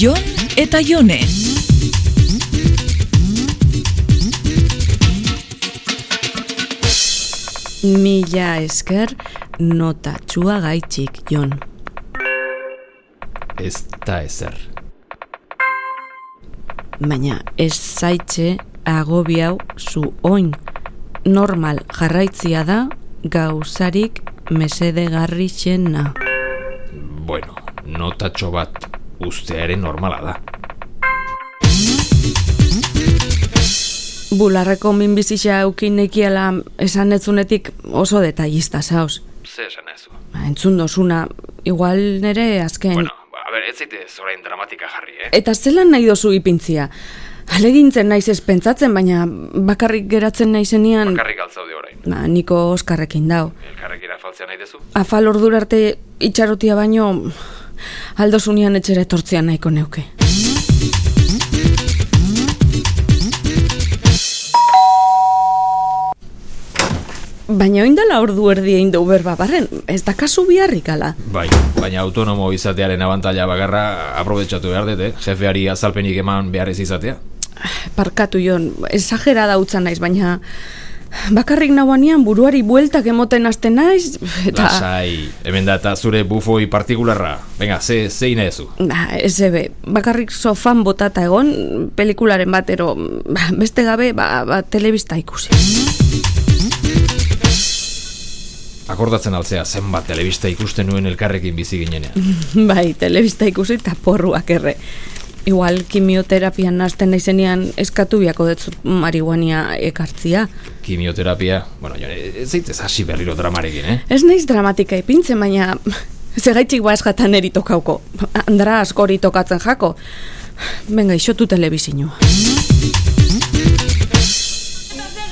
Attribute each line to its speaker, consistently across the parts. Speaker 1: Jon eta Jone.
Speaker 2: Mila esker notatxua gaitxik, Jon.
Speaker 3: Ez da ezer.
Speaker 2: Baina ez zaitxe agobi hau zu oin. Normal jarraitzia da gauzarik mesedegarri xena.
Speaker 3: Bueno, notatxo bat ustearen normala da.
Speaker 2: Bularreko minbizitza eukin nekiela esan etzunetik oso detallista zauz.
Speaker 3: Ze esan ez du.
Speaker 2: Ba, Entzun dozuna, igual nere azken...
Speaker 3: Bueno, ba, a ber, ez zaitez orain dramatika jarri, eh?
Speaker 2: Eta zelan nahi dozu ipintzia? Alegintzen naiz ez pentsatzen, baina bakarrik geratzen naizenian...
Speaker 3: Karrik altzaude orain.
Speaker 2: Ba, niko Oskarrekin dau.
Speaker 3: Elkarrekira faltzea nahi dezu?
Speaker 2: Afal ordura arte itxarotia baino aldosunian etxera etortzea nahiko neuke. Baina oindala ordu erdi egin du berba barren, ez da kasu biharrik ala.
Speaker 3: Bai, baina autonomo izatearen abantaila bagarra aprobetxatu behar dut, eh? Jefeari azalpenik eman behar ez izatea.
Speaker 2: Parkatu jon, esagera dautza naiz, baina bakarrik nauanean buruari bueltak emoten hasten naiz, eta...
Speaker 3: Lasai, hemen da eta zure bufoi partikularra. Venga, ze, zein ezu.
Speaker 2: Ba, ez ebe, bakarrik sofan botata egon, pelikularen batero, ba, beste gabe, ba, ba, telebista ikusi.
Speaker 3: Akordatzen altzea zenbat telebista ikusten nuen elkarrekin bizi ginenean.
Speaker 2: bai, telebista ikusi eta porruak erre. Igual kimioterapian hasten naizenean eskatu biako detzut marihuania ekartzia.
Speaker 3: Kimioterapia, bueno, jone, ez zaitez hasi berriro dramarekin, eh?
Speaker 2: Ez naiz dramatika ipintzen, baina zegaitxik ba eskatan eri tokauko. Andra askori tokatzen jako. Benga, isotu telebizinua.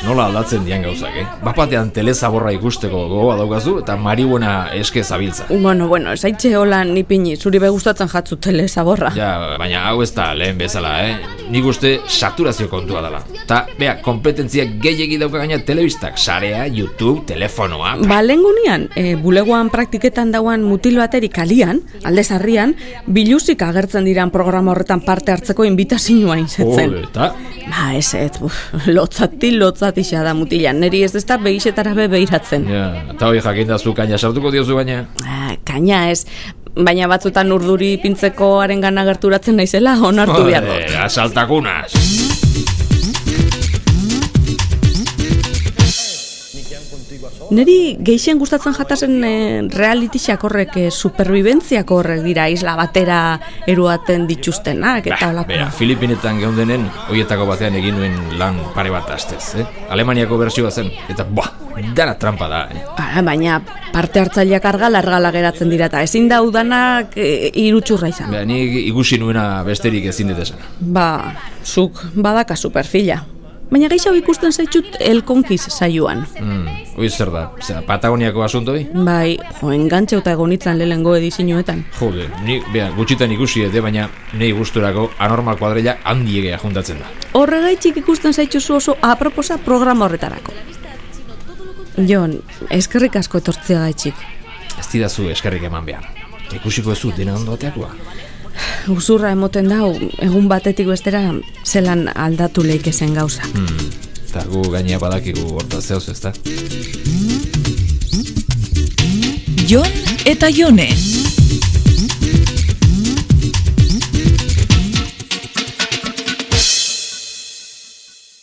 Speaker 3: Nola aldatzen dian gauzak, eh? Bapatean telezaborra ikusteko gogoa daukazu eta marihuana eske zabiltza.
Speaker 2: Bueno, bueno, esaitxe holan ipini, zuri begustatzen jatzu telezaborra.
Speaker 3: Ja, baina hau ez da lehen bezala, eh? Nik uste saturazio kontua dela. Ta, bea, kompetentzia gehiegi dauka gaina telebistak, sarea, YouTube, telefonoa...
Speaker 2: Ba, lehengunian, e, bulegoan praktiketan dauan mutil bateri kalian, alde sarrian, biluzik agertzen diran programa horretan parte hartzeko invitazinua insetzen.
Speaker 3: Ole, eta...
Speaker 2: Ba, ez, ez, uf, lotzati, lotzati xa da mutilan, neri ez ez da behisetara be behiratzen.
Speaker 3: Ja, eta hori jakinda zu kaina sartuko diozu baina.
Speaker 2: Ah, kaina ez, baina batzutan urduri pintzeko arengan agerturatzen naizela onartu behar dut.
Speaker 3: Joder, asaltakunaz.
Speaker 2: Neri geixen gustatzen jatasen e, realitixak horrek, e, superviventziak horrek dira, isla batera eruaten dituztenak, eta
Speaker 3: Bah,
Speaker 2: holako.
Speaker 3: Bera, Filipinetan geundenen, hoietako batean egin nuen lan pare bat astez, eh? Alemaniako bersioa zen, eta buah, dana trampa da, eh?
Speaker 2: Ah, baina parte hartzaileak argal argala geratzen dira eta ezin da udanak e, irutxurra izan.
Speaker 3: Bera, nik ikusi nuena besterik ezin dut esan.
Speaker 2: Ba, zuk badaka superfila. Baina gehiago ikusten zaitut elkonkiz saioan.
Speaker 3: Hmm, hoi zer da, zera, Patagoniako asuntoi?
Speaker 2: Bai, jo, engantxeuta egonitzen lehengo edizinuetan.
Speaker 3: Jode, ni, bea, gutxitan ikusi dute, baina nei gusturako anormal kuadrella handiegea juntatzen da.
Speaker 2: Horregaitxik ikusten zaitxuzu oso aproposa programa horretarako. Jon, eskerrik asko etortzea gaitxik.
Speaker 3: Ez didazu eskerrik eman behar. Ikusiko ez dena ondo ateakoa.
Speaker 2: Uzurra emoten dau, egun batetik bestera zelan aldatu leikezen gauza.
Speaker 3: Hmm, eta gu gainea badakigu hortaz zehoz ez da.
Speaker 1: Jon eta Jone.